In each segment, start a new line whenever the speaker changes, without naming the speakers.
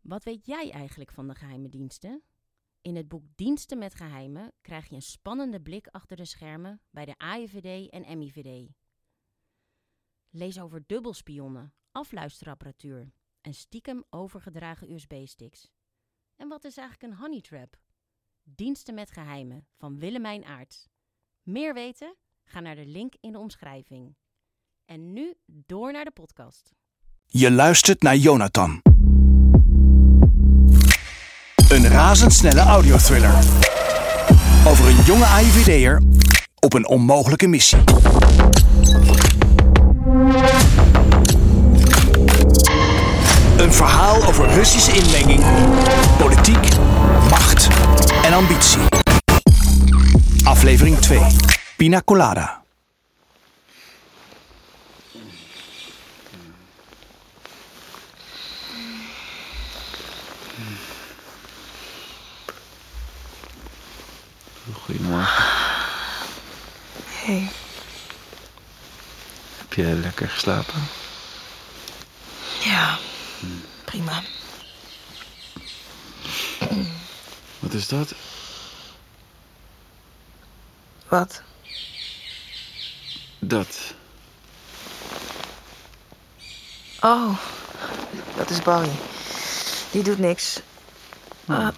Wat weet jij eigenlijk van de geheime diensten? In het boek Diensten met Geheimen krijg je een spannende blik achter de schermen bij de AIVD en MIVD. Lees over dubbelspionnen, afluisterapparatuur en stiekem overgedragen USB-sticks. En wat is eigenlijk een honey trap? Diensten met Geheimen van Willemijn Aarts. Meer weten? Ga naar de link in de omschrijving. En nu door naar de podcast.
Je luistert naar Jonathan. Een razendsnelle audiothriller. Over een jonge AIVD'er op een onmogelijke missie. Een verhaal over Russische inmenging, politiek, macht en ambitie. Aflevering 2. Pina Colada.
Goedemorgen.
Hey,
Heb je lekker geslapen?
ja. Hmm. Prima.
Wat is dat?
Wat?
Dat.
Oh, dat is Barry. Die doet niks. Ah.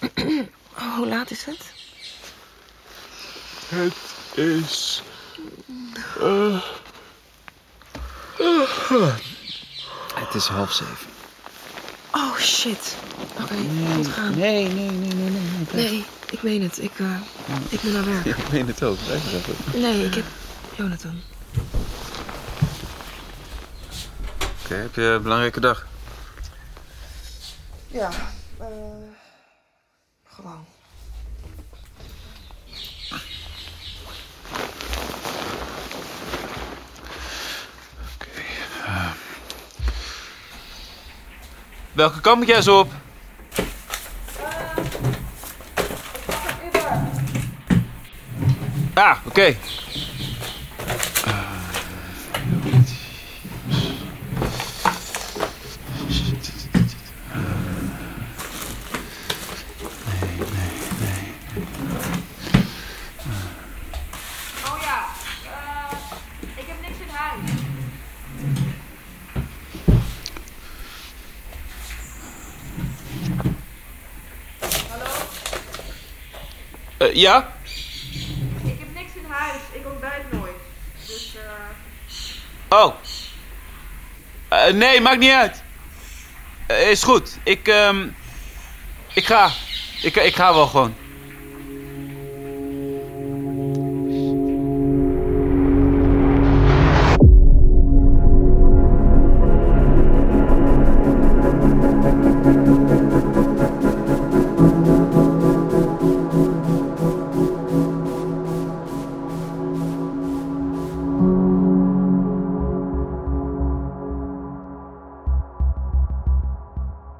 oh, hoe laat is het?
Het is. eh, Het is half zeven.
Oh, shit. Oké, ik moet gaan.
Ah. Nee, nee, nee, nee, nee.
Nee, ik meen het. Ik, eh, ik ben naar werk.
Ik meen het ook, blijf even. Oké.
Nee, ik heb... Jonathan.
heb je een belangrijke dag?
Ja, eh... Gewoon.
Welke kant moet jij zo op? Ah, oké.
Oh ja, eh, ik heb niks in huis.
Eh, ja?
Ik heb niks in huis. Ik ontbijt nooit. Dus eh,
Oh. Eh, nee, maakt niet uit. Eh, is goed. Ik, ehm, ik ga. Ik, ik ga wel gewoon.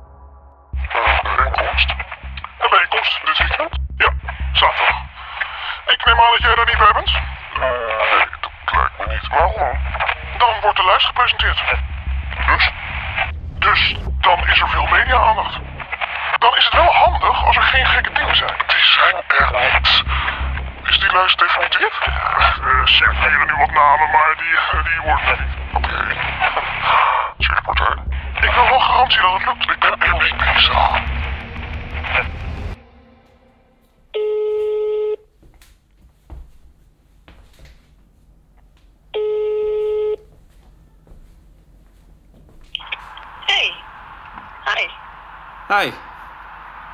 Een bijeenkomst? Een bijeenkomst dit weekend? Ja, zaterdag. Ik neem aan dat jij daar niet bij bent? nee, dat lijkt me niet. Waarom? Dan wordt de lijst gepresenteerd. Dus? Dus dan is er veel media-aandacht. Dan is het wel handig als er geen gekke dingen zijn. Die zijn er niet. Is die lijst definitief? Er circuleren nu wat namen, maar die, eh, die worden er niet. Oké. Tweede partij. Ik wil wel garantie dat het lukt. Ik ben er niet bezig.
Hey. Hi.
Hi.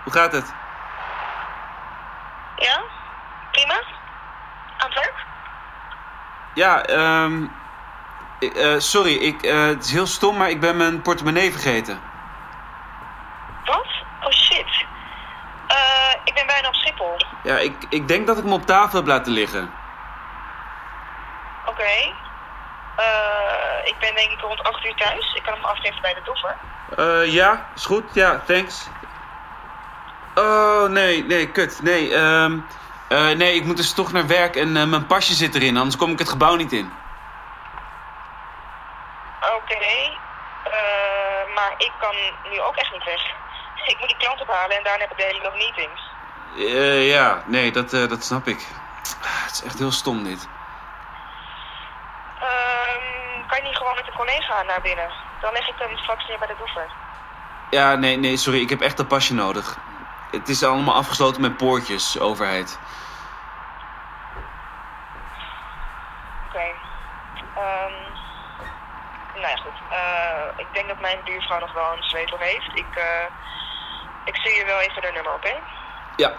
Hoe gaat het?
Ja? Prima? Aan het werk?
Ja, ehm. ik- eh, sorry, ik, eh, het is heel stom, maar ik ben mijn portemonnee vergeten.
Wat? Oh shit. Eh, ik ben bijna op Schiphol. Oké.
Ja, ik, ik denk dat ik hem op tafel heb laten liggen.
Eh, ik ben denk ik rond 8 uur thuis. Ik kan hem afgeven bij de doffer.
Eh, ja, is goed. Ja, thanks. Oh, nee, nee, kut. Nee, ehm, eh, nee, ik moet dus toch naar werk en eh, mijn pasje zit erin, anders kom ik het gebouw niet in.
Oké. Eh, maar ik kan nu ook echt niet weg.
Ik moet die klant ophalen en daarna heb ik de hele dag meetings.
Eh, ja, nee, dat, eh, dat snap ik. Ah, Het is echt heel stom dit.
Ehm, kan je niet gewoon met een collega naar binnen? Dan leg ik hem straks neer bij de doever.
Ja, nee, nee, sorry, ik heb echt een pasje nodig. Het is allemaal afgesloten met poortjes, overheid.
Oké. Ehm, nou ja, goed. Eh, ik denk dat mijn buurvrouw nog wel een sleutel heeft. Ik, eh, ik stuur je wel even haar nummer op, hè?
Ja.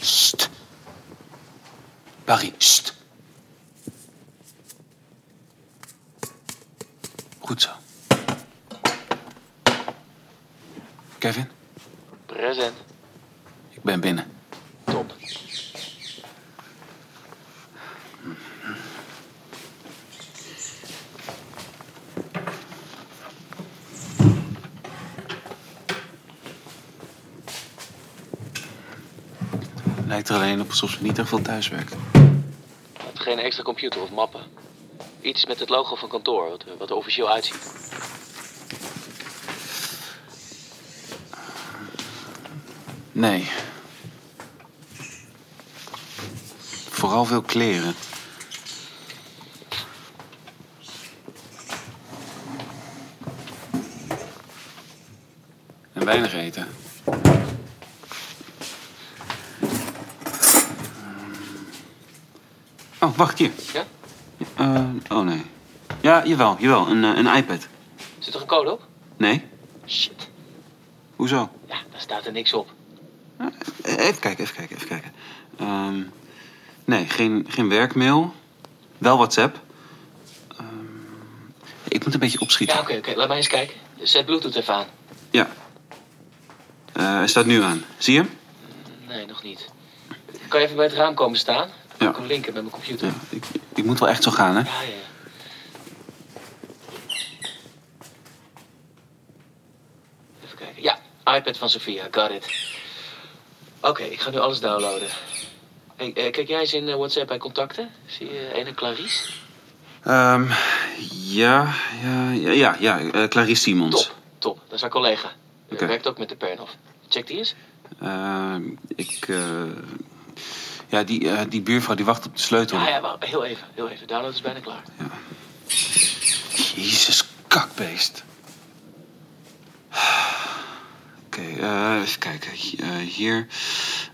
Sst. Barry, sst. Goed zo. Kevin,
Present.
ik ben binnen.
Top.
Lijkt er alleen op alsof ze niet echt veel thuis werkt.
Geen extra computer of mappen. Iets met het logo van kantoor, wat, eh, wat er officieel uitziet.
Nee. Vooral veel kleren. En weinig eten. Oh, wacht hier.
Ja?
Eh, oh nee. Ja, jawel, jawel. Een, eh, een iPad.
Zit er een code op?
Nee?
Shit.
Hoezo?
Ja, daar staat er niks op.
Even kijken, even kijken, even kijken. Ehm, nee, geen, geen werkmail. Wel WhatsApp. Ehm, ik moet een beetje
Ja,
opschieten.
oké, oké. Laat mij eens kijken. Zet Bluetooth even aan.
Ja. Eh, hij staat nu aan. Zie je hem?
Nee, nog niet. Kan je even bij het raam komen staan?
Ja.
Ik kan linken met mijn computer.
Ja, ik, ik moet wel echt zo gaan, hè?
Ja, ja. ja. Even kijken. Ja, iPad van Sophia. Got it. Oké, ik ga nu alles downloaden. Hey, eh, kijk jij eens in eh, WhatsApp bij contacten? Zie je eh, ene Clarice?
Ehm, ja, ja, ja, ja, ja. eh, Clarice Simons.
Top, top. Dat is haar collega. Eh,
Oké.
Werkt ook met de Pernhof. Check die eens.
Ehm, ik, eh, ja, die, eh, die buurvrouw die wacht op de sleutel.
Ja, ja, maar heel even, heel even. Download is bijna klaar.
Jezus, kakbeest. Oké, eh, even kijken. Hi- eh, hier.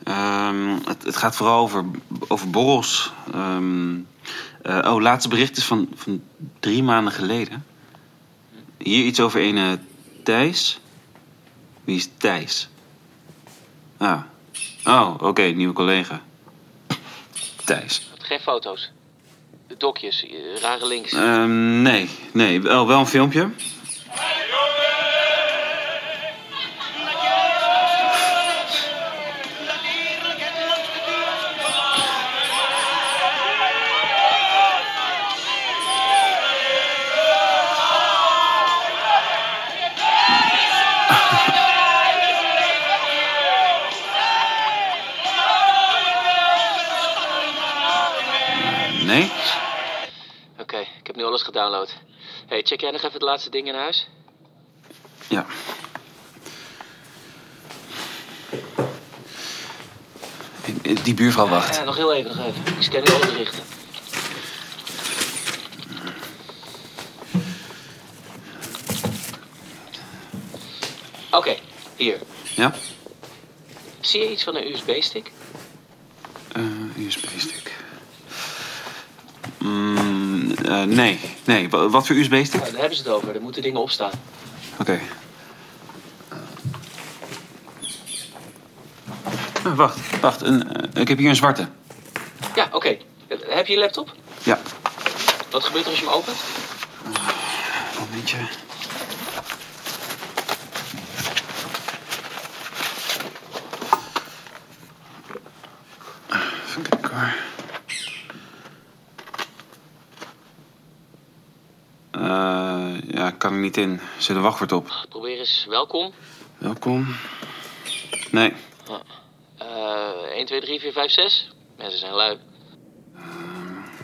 Ehm, het, het gaat vooral over, over borrels. Ehm, eh, oh, laatste bericht is van, van drie maanden geleden. Hier iets over een eh, Thijs. Wie is Thijs? Ah. Oh, oké, nieuwe collega. Thijs.
Geen foto's. De Dokjes, eh, rare links.
Ehm, nee, nee. Wel, wel een filmpje. Nee?
Oké, ik heb nu alles gedownload. hey, check jij nog even het laatste ding in huis?
Ja. Die buurvrouw wacht.
Ja, nog heel even, nog even. Ik scan nu alle berichten. Oké, hier.
Ja?
Zie je iets van een USB-stick?
Eh USB-stick. Mm, eh, nee, nee. Wa- Wat voor USB-stick?
Nou, daar hebben ze het over. Er moeten dingen op staan.
Oké. Eh, wacht, wacht. Een, eh, ik heb hier een zwarte.
Ja, oké. Eh, Heb je je laptop?
Ja.
Wat gebeurt er als je hem opent?
Momentje. maar. Eh, ja, kan er niet in. Er zit een wachtwoord op.
Probeer eens welkom.
Welkom. Nee.
Eh 1, 2, 3, 4, 5, 6. Mensen zijn lui.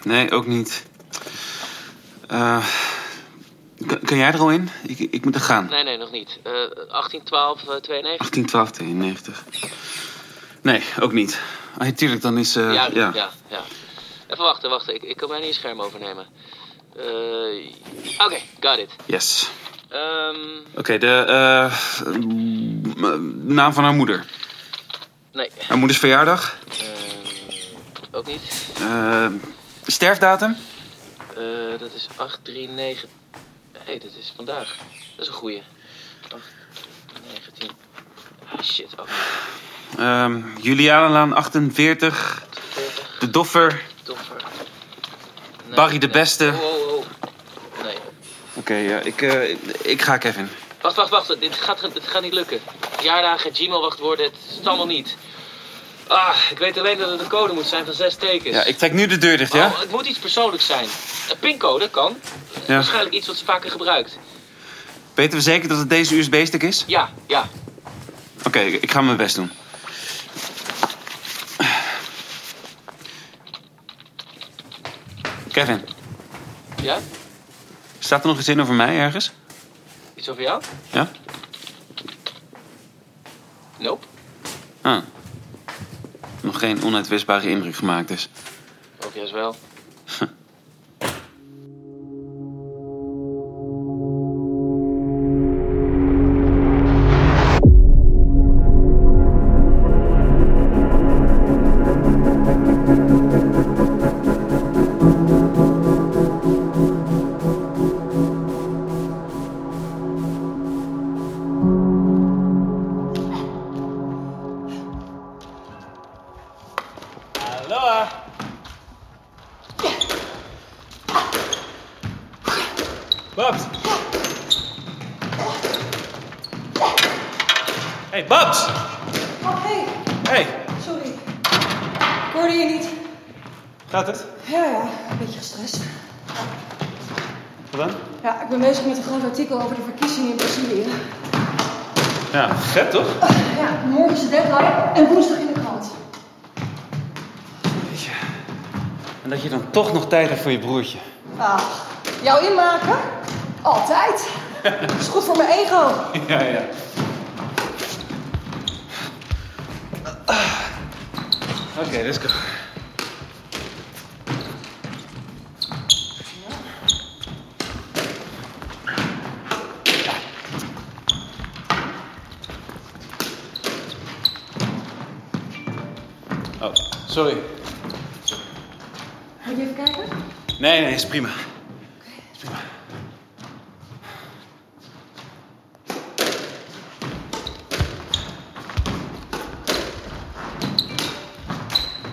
Nee, ook niet. Eh, kan, kan jij er al in? Ik, ik moet er gaan.
Nee, nee, nog niet. Eh 18, 12, eh, 92.
18, 12, 92. Nee, ook niet. Ah, ja, tuurlijk, dan is... eh,
ja,
ja.
ja, ja, Even wachten, wachten. Ik, ik kan bijna je scherm overnemen. Eh, Oké, got it.
Yes.
Ehm,
Oké, de eh, m- m- naam van haar moeder.
nee,
Haar moeders verjaardag.
Ehm, ook niet.
Eh, sterfdatum.
Eh, dat is 839. Hé, hey, dat is vandaag. Dat is een goeie. 8, 19. Ah, shit, ook niet.
Ehm Julianenlaan 48.
40,
De Doffer.
doffer. Nee,
Barry de
nee.
Beste.
Oh, oh, oh. Nee.
Oké, ja, ik, eh, ik, ik ga Kevin.
Wacht, wacht, wacht. Dit gaat, dit gaat niet lukken. Jaardagen, Gmail-wachtwoorden, het is het allemaal niet. Ah, ik weet alleen dat het een code moet zijn van zes tekens.
Ja, ik trek nu de deur dicht,
Maar
ja?
het moet iets persoonlijks zijn. Een pincode kan.
Ja.
Waarschijnlijk iets wat ze vaker gebruikt.
Weten we zeker dat het deze USB-stick is?
Ja, ja.
Oké, ik ga mijn best doen. Kevin,
Ja?
staat er nog iets in over mij ergens?
Iets over jou?
Ja?
Nope.
Ah. Nog geen onuitwisbare indruk gemaakt dus.
Of juist wel.
Babs! Hey, Babs!
Oh, hé,
Hey,
sorry. Ik hoorde je niet.
gaat het?
Ja, ja, een beetje gestrest.
Wat dan?
Ja, ik ben bezig met een groot artikel over de verkiezingen in Brazilië.
Ja, vet toch?
Ja, morgen is de deadline en woensdag in de krant.
En dat je dan toch nog tijd hebt voor je broertje.
Ah, jou inmaken? Altijd. is goed voor mijn ego.
Ja, ja.
Oké, let's go. Oh, sorry.
Moet je even kijken?
Nee, nee, is prima. Is prima.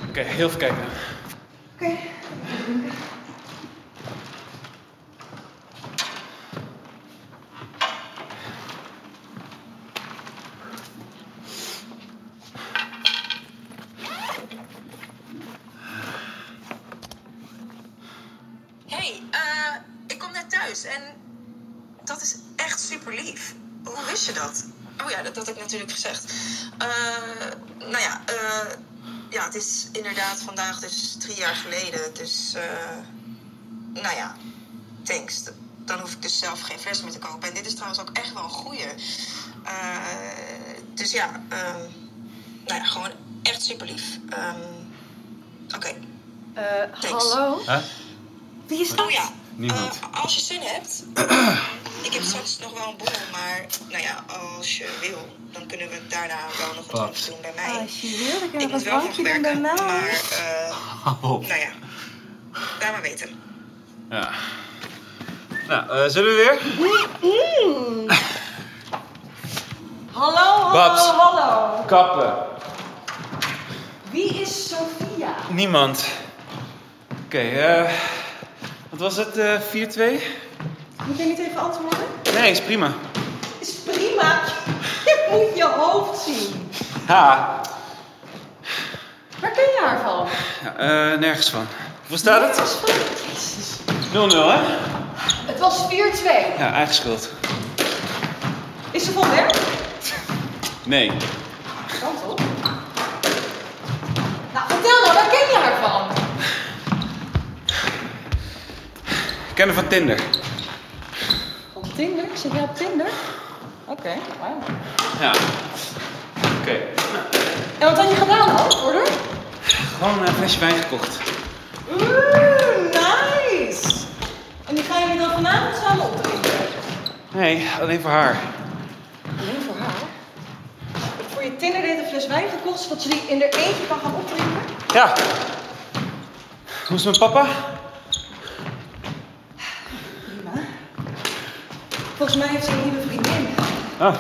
Oké, heel veel kijken.
Oké.
hey, eh, ik kom net thuis en dat is echt super lief. Hoe wist je dat? Oh ja, dat had ik natuurlijk gezegd. Eh, nou ja, eh, ja, het is inderdaad vandaag dus drie jaar geleden. Dus, eh, nou ja, thanks. D- Dan hoef ik dus zelf geen vers meer te kopen. En dit is trouwens ook echt wel een goeie. Eh, dus ja, ehm, nou ja, gewoon echt super lief. Oké.
Eh,
Thanks.
hallo?
Huh?
Wie is dat?
Oh ja.
Niemand.
Eh, als je zin hebt. ik heb straks nog wel een borrel, maar nou ja, als je wil, dan kunnen we daarna wel nog wat anders doen bij mij.
Ah, Als je wil, dan kunnen
ik
we
moet
een
wel nog
drankje doen bij
werken, maar
mij.
eh, nou ja, laat maar weten.
Ja. Nou, eh, zullen we weer?
Mm. Hallo, hallo,
Babs.
hallo.
Kappen.
Wie is Sophia?
Niemand. Oké, eh... wat was het? eh, 4-2?
Moet jij niet even antwoorden?
Nee, is prima.
Is prima. Je moet je hoofd zien.
Ha.
Waar ken je haar van?
Ja, eh, nergens van. Hoe staat het? 0-0, hè?
Het was 4-2.
Ja, eigen schuld.
Is ze van werk?
Nee.
Kan toch? Nou, vertel nou, waar ken je haar van?
Kennen van Tinder.
Op Tinder? Zit jij op Tinder? Oké, wauw.
Ja. Oké.
En wat had je gedaan dan, Order?
Gewoon een flesje wijn gekocht.
Oeh, nice! En die gaan jullie dan vanavond samen opdrinken?
Nee, alleen voor haar.
Alleen voor haar? Voor je Tinder deed een fles wijn gekocht, zodat je die in de eentje kan gaan opdrinken?
Ja. Hoe is mijn papa?
Prima. Volgens mij heeft ze een nieuwe vriendin.
Oh,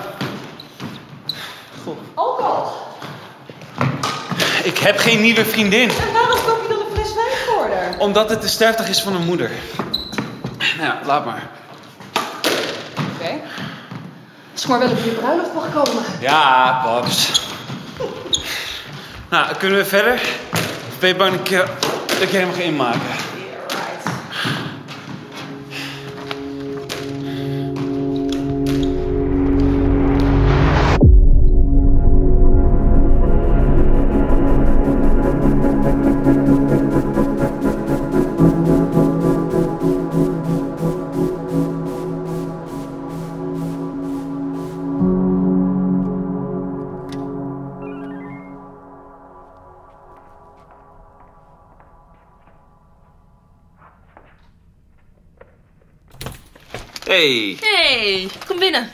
Ook al.
ik heb geen nieuwe vriendin.
En waarom koop je dan een fles wijn voor haar?
Omdat het de sterfdag is van een moeder. Nou ja, laat maar.
Oké. Als ik maar wel op je bruiloft mag komen.
Ja, paps. Nou, kunnen we verder? Of ben je bang dat ik, eh, dat ik je helemaal ga inmaken?
Hey,
hey, kom binnen.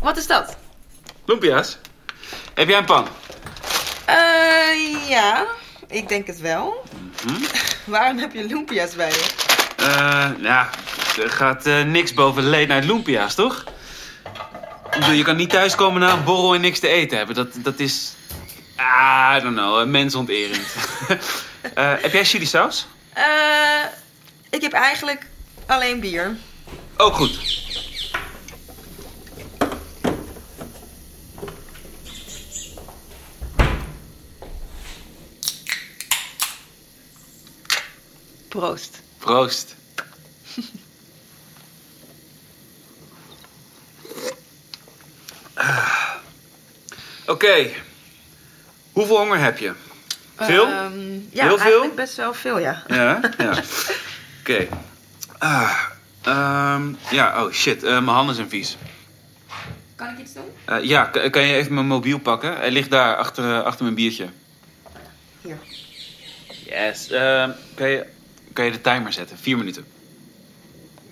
Wat is dat?
Lumpia's. Heb jij een pan?
Eh, ja, ik denk het wel.
Hm?
Waarom heb je lumpia's bij je?
Eh, ja, er gaat eh, niks boven leed naar Lumpia's, toch? Ik bedoel, je kan niet thuiskomen na een borrel en niks te eten hebben. Dat, dat is, ah, I don't know, eh, mensonterend. Eh, heb jij chili saus?
Eh, ik heb eigenlijk alleen bier.
Ook goed.
Proost.
Proost. Ah. Oké. Hoeveel honger heb je? Veel?
Ehm, ja,
Heel veel?
eigenlijk best wel veel, ja.
Ja, ja. Oké. Ah, ehm, ja, oh shit, eh, mijn handen zijn vies.
Kan ik iets doen?
Eh, ja, k- kan je even mijn mobiel pakken? Hij ligt daar, achter, eh, achter mijn biertje.
Hier.
Yes. ehm, kan, je, kan je de timer zetten? Vier minuten.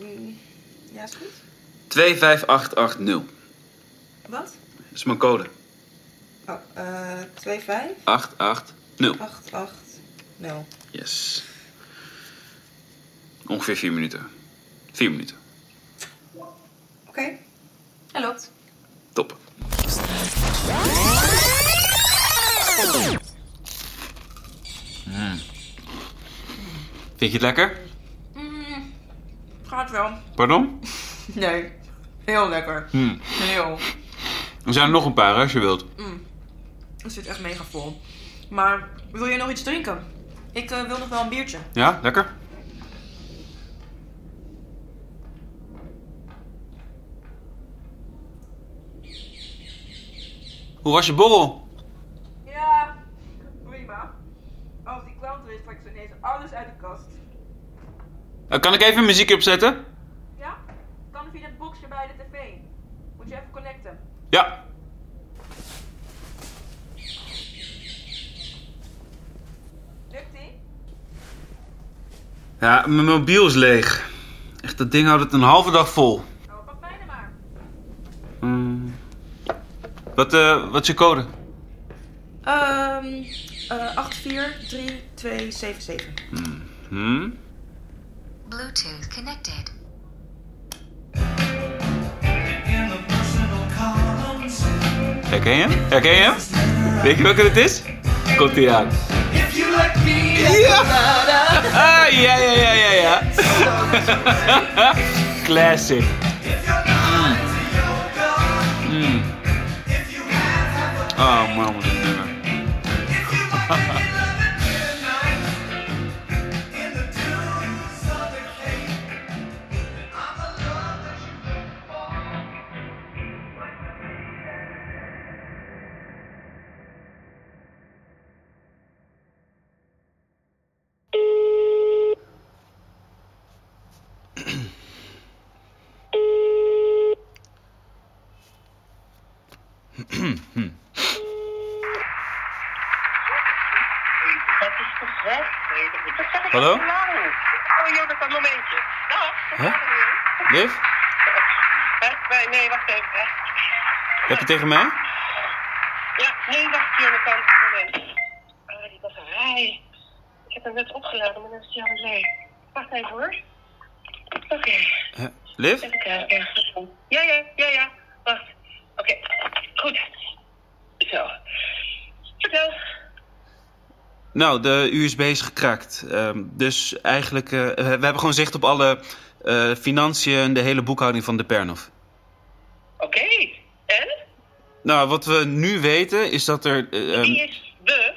Mm, Ja, is goed.
25880.
Wat?
Dat is mijn code.
Oh, eh, 2-5?
880.
8-8. nul.
Yes. Ongeveer vier minuten. Vier minuten.
Oké. Hij loopt.
Top. Hmm. Vind je het lekker?
Mm, gaat wel.
Pardon?
Nee, heel lekker.
Hmm.
Heel.
Er zijn er nog een paar hè, als je wilt.
Mm. Het zit echt mega vol. Maar wil je nog iets drinken? Ik eh, wil nog wel een biertje.
Ja, lekker? Hoe was je borrel?
Ja, prima. Als die klant er is, trek ze ineens alles uit de kast.
Eh, Kan ik even muziek opzetten?
Ja? Kan via dat boxje bij de tv. Moet je even connecten.
Ja.
Lukt die?
Ja, mijn mobiel is leeg. Echt, dat ding houdt het een halve dag vol.
Oh, pak mij dan maar.
Hmm. Wat, eh, wat is je code?
Ehm eh 843277.
Hmm?
Bluetooth connected.
Herken je hem? Herken je hem? Weet je welke het is? Komt ie aan.
If you like me,
Ah, ja, ja, ja, ja, ja. Classic. Hmm. Mm. Mm. Oh man, wat een nummer.
Hallo?
Oh joh, dat kan een momentje. Nou,
Huh? Liv,
hè? nee, wacht even. hè.
heb je tegen mij?
Ja, nee, wacht Jonathan, een momentje. Ah, die batterij. Ik heb hem net opgeladen, maar dan is hij alweer leeg. Wacht even hoor. Oké.
Huh? Liv?
Even kijken. eh, Ja, ja, ja, ja. Wacht. Oké, goed. Zo. Vertel.
Nou, de USB is gekraakt. Ehm, dus eigenlijk, eh, we hebben gewoon zicht op alle eh, financiën en de hele boekhouding van de Pernov.
Oké. En?
Nou, wat we nu weten is dat er eh, ehm,
Wie is de?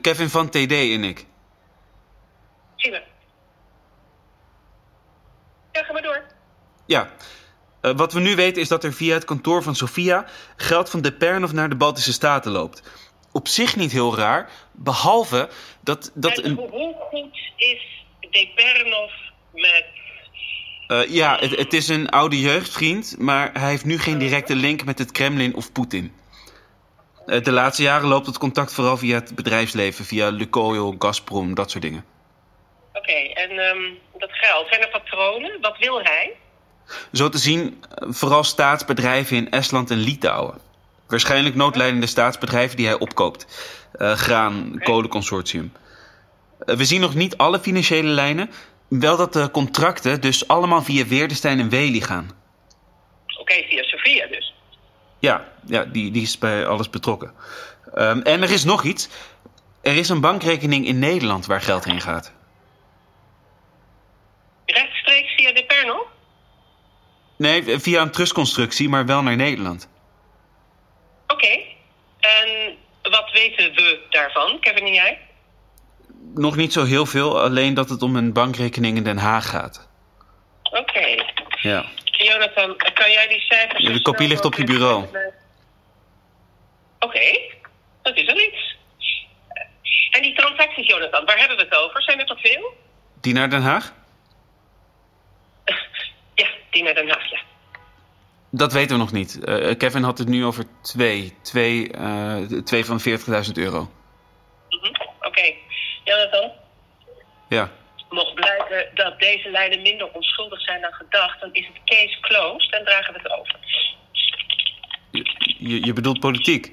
Kevin van TD en ik.
Zie me. Ja, ga maar door.
Ja. Eh, wat we nu weten is dat er via het kantoor van Sofia geld van de Pernov naar de Baltische Staten loopt. Op zich niet heel raar, behalve dat, dat
En
een
hoe- Hoe goed is Depernov met...
Eh, ja, het, het is een oude jeugdvriend, maar hij heeft nu geen directe link met het Kremlin of Poetin. Eh, de laatste jaren loopt het contact vooral via het bedrijfsleven, via Lukoil, Gazprom, dat soort dingen.
Oké, en ehm, dat geld, zijn er patronen? Wat wil hij?
Zo te zien, eh, vooral staatsbedrijven in Estland en Litouwen. Waarschijnlijk noodleidende staatsbedrijven die hij opkoopt. Eh, graan, kolenconsortium. Eh, we zien nog niet alle financiële lijnen, wel dat de contracten dus allemaal via Weerdestein en Wely gaan.
Oké, via Sofia dus.
Ja, ja die, die is bij alles betrokken. Ehm, en er is nog iets. Er is een bankrekening in Nederland waar geld heen gaat.
Rechtstreeks via Depernov?
Nee, via een trustconstructie, maar wel naar Nederland.
Oké. En wat weten we daarvan, Kevin en jij?
Nog niet zo heel veel, alleen dat het om een bankrekening in Den Haag gaat.
Oké.
Ja.
Jonathan, kan jij die cijfers...
De kopie ligt op je bureau.
Oké, dat is er iets. En die transacties, Jonathan, waar hebben we het over? Zijn er toch veel?
Die naar Den Haag?
Ja, die naar Den Haag, ja.
Dat weten we nog niet. Eh, Kevin had het nu over twee. Twee, eh, twee van 40.000 euro.
Mhm, Oké, Jonathan,
Ja.
mocht blijken dat deze lijnen minder onschuldig zijn dan gedacht, dan is het case closed en dragen we het over.
Je, je bedoelt politiek?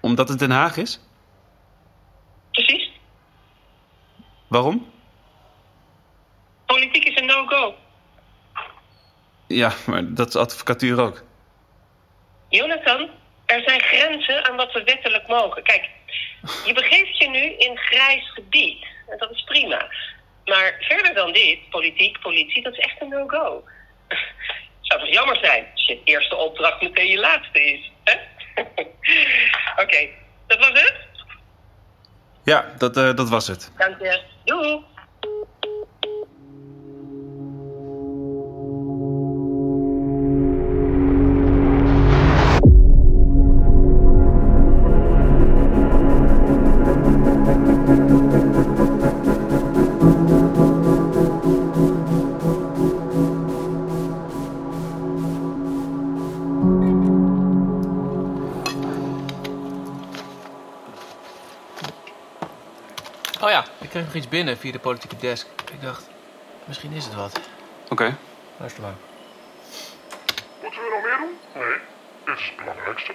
Omdat het Den Haag is?
Precies.
Waarom?
Politiek is een no-go.
Ja, maar dat is advocatuur ook.
Jonathan, er zijn grenzen aan wat we wettelijk mogen. Kijk, je begeeft je nu in grijs gebied. En dat is prima. Maar verder dan dit, politiek, politie, dat is echt een no-go. Zou toch jammer zijn als je eerste opdracht meteen je laatste is. hè? Oké, dat was het.
Ja, dat, eh, dat was het.
Dank je. Doei.
Oh ja, ik kreeg nog iets binnen via de politieke desk. Ik dacht, misschien is het wat.
Oké.
Luister maar.
Moeten we nog meer doen? Nee, dit is het belangrijkste.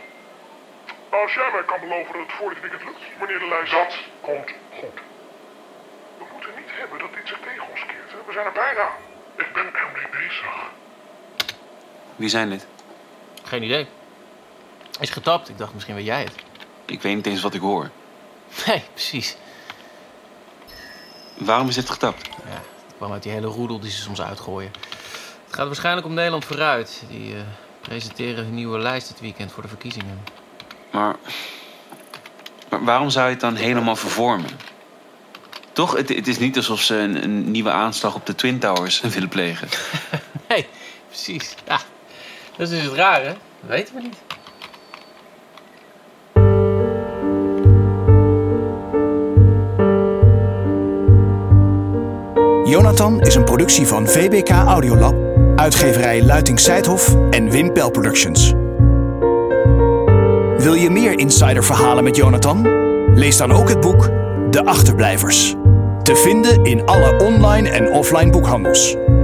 Als jij mij kan beloven dat het voor dit weekend lukt, wanneer de lijst... Dat komt goed. We moeten niet hebben dat dit zich tegen ons keert. hè. We zijn er bijna. Ik ben ermee bezig.
Wie zijn dit?
Geen idee. Is getapt. Ik dacht, misschien weet jij het.
Ik weet niet eens wat ik hoor.
Nee, precies.
Waarom is dit getapt?
Ja, het kwam uit die hele roedel die ze soms uitgooien. Het gaat waarschijnlijk om Nederland vooruit. Die eh, presenteren hun nieuwe lijst dit weekend voor de verkiezingen.
Maar. Maar waarom zou je het dan helemaal vervormen? Toch, het, het is niet alsof ze een, een nieuwe aanslag op de Twin Towers willen plegen.
Nee, precies. Ja, dat is dus het rare. Dat weten we niet.
Jonathan is een productie van VBK Audiolab, uitgeverij Luiting Seidhof en Wim Pel Productions. Wil je meer insiderverhalen met Jonathan? Lees dan ook het boek De Achterblijvers. Te vinden in alle online en offline boekhandels.